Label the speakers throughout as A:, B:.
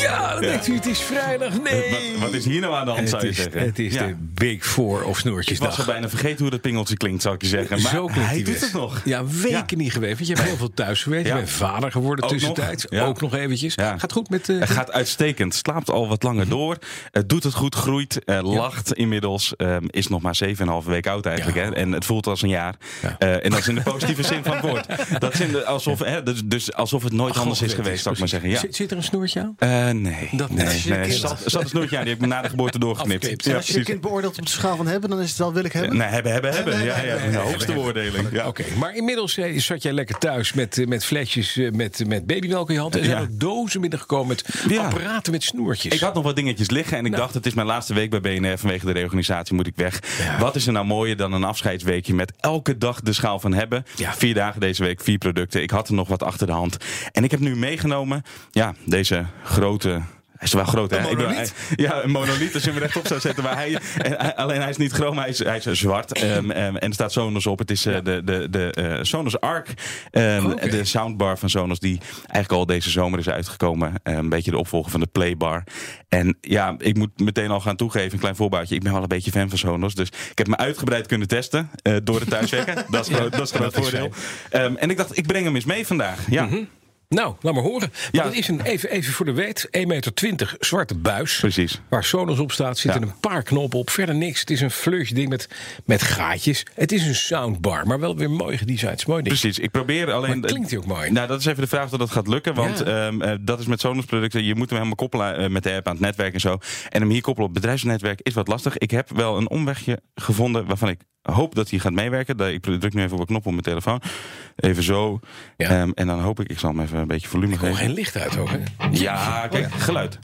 A: Ja, dan denkt u, het is vrijdag. Nee.
B: Eh, Wat, wat is hier nou aan de hand,
A: het
B: zou je
A: is,
B: zeggen?
A: het is
B: Ja.
A: de Big Four of
B: Ik was al
A: snoertjesdag.
B: bijna vergeten hoe dat pingeltje klinkt, zou ik je zeggen. Maar
A: Zo klinkt
B: hij
A: die
B: doet
A: weg.
B: het nog.
A: Ja, weken niet geweest. Want je hebt heel veel thuis gewerkt.
B: Ja.
A: Je bent vader geworden
B: Ook
A: tussentijds.
B: nog. Ja.
A: Ook nog eventjes.
B: Ja.
A: Gaat goed met... eh, Mhm.
B: Hij gaat uitstekend. Slaapt al wat langer door. Eh, doet het goed, groeit, eh, lacht inmiddels. Ehm, is nog maar 7,5 week oud eigenlijk.
A: Ja.
B: Hè? En het voelt als een jaar.
A: Ja.
B: Eh, en dat is in de positieve zin van het woord. Dat is in de, alsof, hè, dus, dus alsof het nooit
A: God,
B: anders is
A: weet
B: geweest,
A: ik.
B: zou ik maar zeggen. Ja.
A: Zit, zit er een snoertje aan?
B: Eh, nee.
A: Dat
B: nee,
A: is je
B: nee.
A: kind.
B: Zat, zat een snoertje aan, die heb ik me na de geboorte doorgeknipt.
A: Afknipt.
B: Ja,
C: als je je
B: precies.
C: kind beoordeelt op de schaal van hebben, dan is het wel wil ik hebben.
B: Nee, hebben, hebben, hebben. Ja, ja, de hoogste beoordeling. Ja.
A: Oké, maar inmiddels eh, zat jij lekker thuis met, eh, met flesjes eh, met, met babymelk in je hand. En zijn
B: Ja.
A: er dozen binnengekomen met
B: Ja.
A: apparaten met snoertjes.
B: Ik had nog wat dingetjes liggen en ik
A: Nou.
B: dacht, het is mijn laatste week bij BNR vanwege de reorganisatie moet ik weg. Wat is er nou mooier dan een afscheidsweekje met elke dag de schaal van hebben?
A: Ja.
B: Vier dagen deze week, vier producten. Ik had er nog wat achter de hand. En ik heb nu meegenomen, ja, deze grote. Hij is wel groot, hè?
A: Een
B: Ik bedoel,
A: monolith?
B: hij- ja, een monolith als je hem rechtop zou zetten. Maar hij, en hij- alleen hij is niet chroom, hij is, hij is zwart. Ehm, ehm, en er staat Sonos op. Het is eh, de, de, de eh, Sonos Arc. Ehm,
A: Oh, Oké.
B: De soundbar van Sonos die eigenlijk al deze zomer is uitgekomen. Eh, Een beetje de opvolger van de Playbar. En ja, ik moet meteen al gaan toegeven, een klein voorbouwtje. Ik ben wel een beetje fan van Sonos. Dus ik heb me uitgebreid kunnen testen eh, door het thuiswerken. dat is groot, dat is groot
A: dat is
B: voordeel. Ehm, en ik dacht, ik breng hem eens mee vandaag. Ja,
A: Nou, laat maar horen. Want
B: Ja.
A: het is een, even, even voor de weet, 1,20 meter zwarte buis.
B: precies.
A: Waar Sonos op staat, zitten
B: Ja.
A: een paar knoppen op. Verder niks. Het is een flush ding met, met gaatjes. Het is een soundbar, maar wel weer mooi gedesigned. Het is mooi ding.
B: Precies, ik probeer alleen...
A: Maar het klinkt ook mooi.
B: Nou, dat is even de vraag of dat gaat lukken. Want
A: Ja.
B: ehm, eh, dat is met Sonos producten. Je moet hem helemaal koppelen eh, met de app aan het netwerk en zo. En hem hier koppelen op het bedrijfsnetwerk is wat lastig. Ik heb wel een omwegje gevonden waarvan ik hoop dat hij gaat meewerken. Daar- Ik druk nu even op een knop op mijn telefoon. Even zo.
A: Ja.
B: Ehm, en dan hoop ik, ik zal hem even een beetje volume
A: Oh,
B: geven.
A: geen licht uit ook, hè?
B: Ja, kijk,
A: Oh
B: geluid.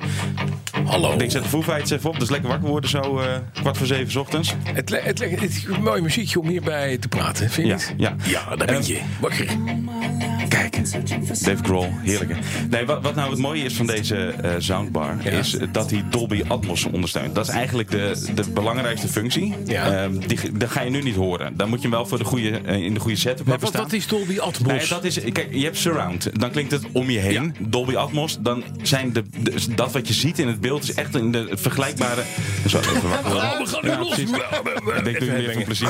A: Hallo.
B: Ik zet de Foo Fighters even op, dus lekker wakker worden zo eh, kwart voor zeven 's ochtends.
A: Het, le- het, le- het is een mooi muziekje om hierbij te praten, vind je
B: Ja,
A: niet?
B: ja.
A: daar
B: Ehm,
A: ben je. Wakker.
B: Kijk, Dave Grohl, heerlijk. hè? Nee, wat, wat nou het mooie is van deze eh, soundbar, is dat hij Dolby Atmos ondersteunt. Dat is eigenlijk de, de belangrijkste functie.
A: Ja.
B: Ehm, die, dat ga je nu niet horen. Dan moet je hem wel voor de goede, eh, in de goede setup
A: Maar
B: hebben
A: wat,
B: staan.
A: wat is Dolby Atmos?
B: Nee, dat is, kijk, je hebt surround. Dan klinkt het om je heen. Dolby Atmos. Dan zijn de, de- dat wat je ziet in het beeld is echt in de het vergelijkbare. Zo, even wakker worden.
A: Oh, we gaan nu
B: Ja,
A: los.
B: precies. Ik denk doe je meer van plezier.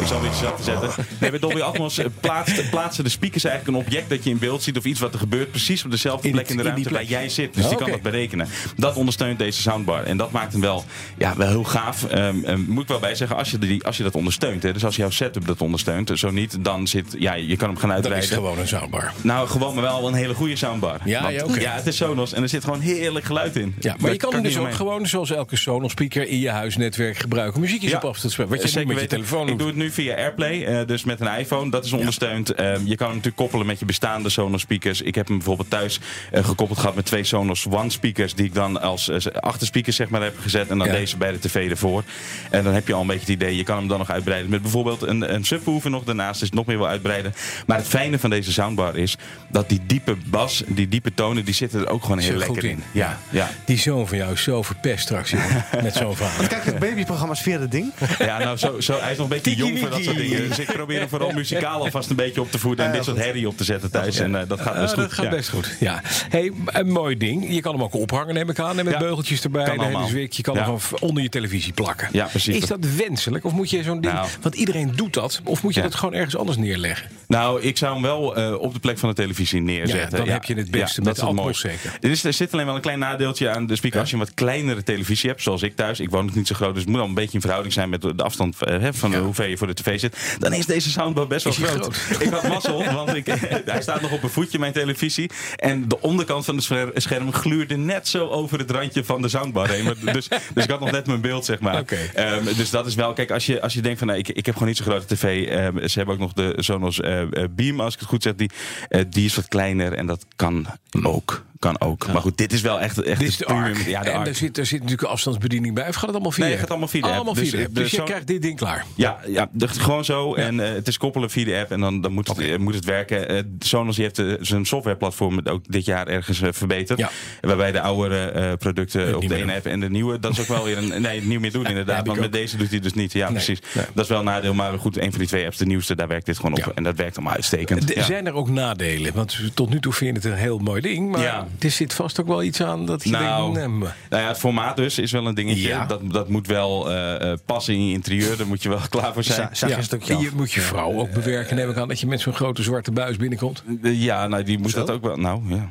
B: Ik zal weer iets te zetten. Nee, bij Dolby Atmos eh, plaatst, plaatsen de speakers eigenlijk een object dat je in beeld ziet of iets wat er gebeurt precies op dezelfde
A: In
B: plek
A: die-
B: in de
A: in die
B: ruimte waar
A: plek.
B: jij zit. Dus die
A: Oké.
B: kan dat berekenen. Dat ondersteunt deze soundbar. En dat maakt hem wel, ja, wel heel gaaf. Ehm, ehm, moet ik wel bij zeggen, als je, die, als je dat ondersteunt. Hè, dus als jouw setup dat ondersteunt. Zo niet, dan zit, ja, je kan hem gaan
A: dat is
B: uitbreiden.
A: gewoon een soundbar.
B: Nou, gewoon maar wel een hele goede soundbar.
A: Ja,
B: Want-
A: ja, oké.
B: ja, het is Sonos en er zit gewoon heerlijk geluid in.
A: Ja, maar
B: Daar
A: je kan
B: ik
A: hem dus ook
B: niet omheen.
A: gewoon, zoals elke Sonos speaker, in je huisnetwerk gebruiken. Muziekjes
B: Ja. Eh,
A: op afstand spelen. Wat je
B: Zeker
A: nu met je
B: weten.
A: telefoon
B: Ik
A: doet.
B: doe het nu via Airplay, eh, dus met een iPhone. Dat is ondersteund. Ehm, je kan hem natuurlijk koppelen met je bestaande Sonos speakers. Ik heb hem bijvoorbeeld thuis eh, gekoppeld gehad met twee Sonos One speakers... die ik dan als eh, achterspeakers zeg maar, heb gezet. En dan
A: Ja.
B: deze bij de tv ervoor. En dan heb je al een beetje het idee. Je kan hem dan nog uitbreiden met bijvoorbeeld een, een subwoofer nog daarnaast. Dus nog meer wil uitbreiden. Maar het fijne van deze soundbar is dat die diepe bas, die diepe tonen... die zitten er ook gewoon heel
A: Zit goed
B: lekker in.
A: in.
B: Ja, ja.
A: Die zoon van jou is zo verpest straks, jongen. Met zo'n verhaal.
C: Want kijk, het babyprogramma's via dat ding.
B: Ja, nou, zo, zo, hij is nog een beetje jong voor dat soort dingen. Dus ik probeer hem vooral muzikaal alvast een beetje op te voeden. En dit soort herrie op te zetten thuis. En eh, dat gaat best
A: Ah,
B: goed.
A: dat gaat
B: ja.
A: best goed. Ja. Hey, een mooi ding. Je kan hem ook ophangen, neem ik aan. En met
B: Ja.
A: beugeltjes erbij.
B: Kan
A: de hele
B: allemaal.
A: zwik. Je kan
B: Ja.
A: hem gewoon onder je televisie plakken.
B: Ja, precies.
A: Is dat wenselijk? Of moet je zo'n ding...
B: Nou.
A: Want iedereen doet dat. Of moet je
B: Ja.
A: dat gewoon ergens anders neerleggen?
B: Nou, ik zou hem wel eh, op de plek van de televisie neerzetten.
A: Ja, dan heb je het beste met
B: dat is wel
A: Atmos
B: mooi.
A: zeker.
B: Er, is, er zit alleen wel een klein nadeeltje aan de speaker. Als je een wat kleinere televisie hebt, zoals ik thuis. Ik woon ook niet zo groot, dus het moet al een beetje in verhouding zijn met de de afstand eh, hè, van
A: Ja.
B: hoe ver je voor de tv zit. Dan is deze soundbar best wel
A: Is hij
B: groot. Ik had mazzel, want ik, hij staat nog op een voetje, mijn televisie. En de onderkant van het scher- scherm gluurde net zo over het randje van de soundbar heen. Maar, dus, dus ik had nog net mijn beeld, zeg maar.
A: Oké.
B: Ehm, dus dat is wel, kijk, als je, als je denkt van nou, ik, ik heb gewoon niet zo'n grote tv. ehm, ze hebben ook nog de Sonos eh, eh, Beam, als ik het goed zeg. Die, eh, die is wat kleiner en dat kan ook. kan ook. Maar goed, dit is wel echt, echt
A: Dit is de ARC.
B: premium- Ja, de
A: en
B: ARC.
A: daar zit, daar zit natuurlijk een afstandsbediening bij. Of gaat het allemaal via
B: Nee,
A: de
B: het gaat
A: app?
B: allemaal via de app.
A: Allemaal
B: Dus,
A: via de app.
B: eh,
A: Dus
B: de
A: je
B: zo-
A: krijgt dit ding klaar.
B: Ja, ja de- gewoon zo. En eh, het is koppelen via de app en dan, dan moet, het, eh, moet het werken. Eh, Sonos die heeft eh, zijn softwareplatform ook dit jaar ergens eh, verbeterd.
A: Ja.
B: Waarbij de oudere eh, producten
A: niet
B: op de
A: meer
B: ene
A: doen.
B: app en de nieuwe... Dat is ook wel weer een... Nee, het niet meer doen
A: heb
B: inderdaad.
A: ik
B: Want
A: ook.
B: met deze doet hij dus niet. Ja,
A: Nee,
B: precies.
A: nee.
B: Dat is wel een nadeel. Maar goed, een van die twee apps, de nieuwste, daar werkt dit gewoon op.
A: Ja.
B: En dat werkt allemaal uitstekend.
A: Er
B: Ja.
A: Zijn er ook nadelen? Want tot nu toe vind je het een heel mooi ding. Maar
B: Ja.
A: er zit vast ook wel iets aan dat je
B: Nou,
A: denkt... nee,
B: nou
A: maar-
B: ja, het formaat dus is wel een dingetje.
A: Ja.
B: Dat, dat moet wel eh, eh, passen in je interieur. Daar moet je wel klaar voor zijn.
C: Za- zag je
A: Ja,
C: een stukje
A: en je
C: af?
A: moet je vrouw ook bewerken, neem ik aan, dat je met zo'n grote zwarte buis binnenkomt.
B: Ja, nou die moet dat ook wel. Nou, ja. ja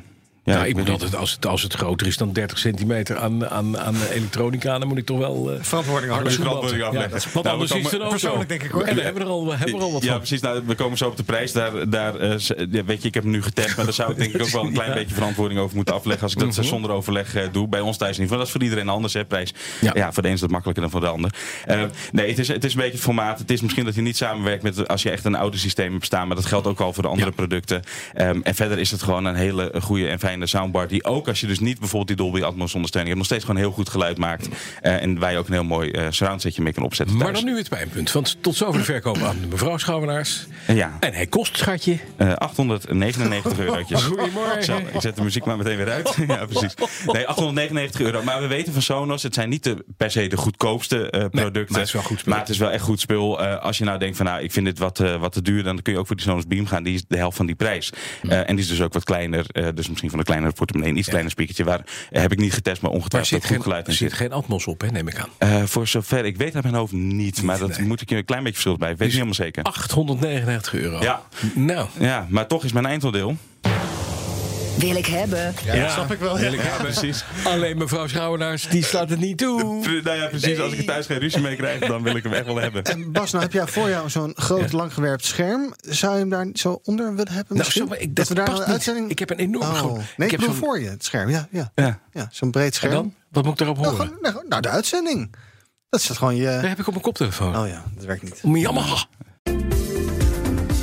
A: nou, ik
B: weet
A: moet
B: niet.
A: altijd, als het, als het groter is dan 30 centimeter aan, aan, aan elektronica, dan moet ik toch wel. eh,
C: Verantwoording
A: harde
C: afleggen.
A: schoenen
B: Verantwoording
A: vatten.
B: afleggen.
A: Ja, dat- want
B: Nou, we
A: anders is het
B: komen-
A: een auto.
C: persoonlijk denk ik, hoor.
A: En we hebben er al, we hebben er al wat
B: ja,
A: van.
B: precies. Nou, we komen zo op de prijs. Daar, daar, eh, z- ja, weet je, ik heb hem nu getest. Maar daar zou ik denk ik ook wel een klein beetje verantwoording over moeten afleggen. Als ik dat
A: Mhm.
B: zonder overleg eh, doe. Bij ons thuis niet. Want dat is voor iedereen anders, hè, prijs.
A: Ja.
B: Ja. voor de een is dat makkelijker dan voor de ander. Eh, nee, het is, het is een beetje het formaat. Het is misschien dat je niet samenwerkt met als je echt een ouder systeem hebt staan. Maar dat geldt ook al voor de andere producten. Ehm, en verder is het gewoon een hele goede en fijne soundbar. Die ook als je dus niet bijvoorbeeld die Dolby Atmos ondersteuning hebt. Nog steeds gewoon heel goed geluid maakt. Eh, en waar je ook een heel mooi eh surround setje mee kan opzetten
A: Maar
B: thuis.
A: dan nu het pijnpunt. Want tot zover de verkoop aan de mevrouw Schouwenaars.
B: Ja.
A: En hij kost, schatje.
B: Eh, 899 eurotjes.
A: Goedemorgen.
B: Zo, ik zet de muziek maar meteen weer uit. ja, precies. Nee, 899 euro. Maar we weten van Sonos, het zijn niet de, per se de goedkoopste eh, producten.
A: maar het is wel goed spul.
B: Maar het is wel echt goed spul. Eh, als je nou denkt van, nou, ik vind dit wat, eh, wat te duur, dan kun je ook voor die Sonos Beam gaan. Die is de helft van die prijs.
A: Hm.
B: Eh, en die is dus ook wat kleiner. eh, dus misschien van een kleinere portemonnee, een iets kleiner speakertje. Waar eh, heb ik niet getest, maar
A: Daar
B: ongetwijfeld
A: zit
B: ook goed
A: geen,
B: geluid in
A: zit
B: zit.
A: geen Atmos op, hè, neem ik aan.
B: Eh, voor zover ik weet uit mijn hoofd niet. Maar dat moet ik je een klein beetje verschil bij. Weet ik niet helemaal zeker.
A: Ah. 899 euro.
B: Ja.
A: Nou.
B: Ja, maar toch is mijn eindoordeel.
D: Wil ik hebben.
A: Ja, snap ik wel.
B: precies.
A: Alleen mevrouw Schouwenaars, die slaat het niet toe.
B: Pre- Nou ja, precies. Als ik er thuis geen ruzie mee krijg, dan wil ik hem echt wel hebben.
C: En Bas, nou heb jij voor jou zo'n groot, langgewerpt scherm. Zou je hem daar zo onder willen hebben?
A: Nou,
C: misschien?
A: zo, maar ik-
C: dat
A: dat
C: we daar
A: past
C: een
A: niet.
C: uitzending...
A: Ik heb een enorm
C: oh.
A: groot-
C: Nee,
A: ik
C: ik
A: heb
C: bedoel
A: zo'n-
C: voor je, het scherm. Ja, ja.
B: Ja.
C: ja zo'n breed
A: En
C: scherm.
A: dan? Wat moet ik daarop
C: Nou,
A: horen?
C: gewoon, nou, gewoon- nou, de uitzending. Dat staat gewoon
A: Daar
C: je...
A: heb ik op mijn koptelefoon.
C: Oh ja, dat werkt niet.
A: Jammer.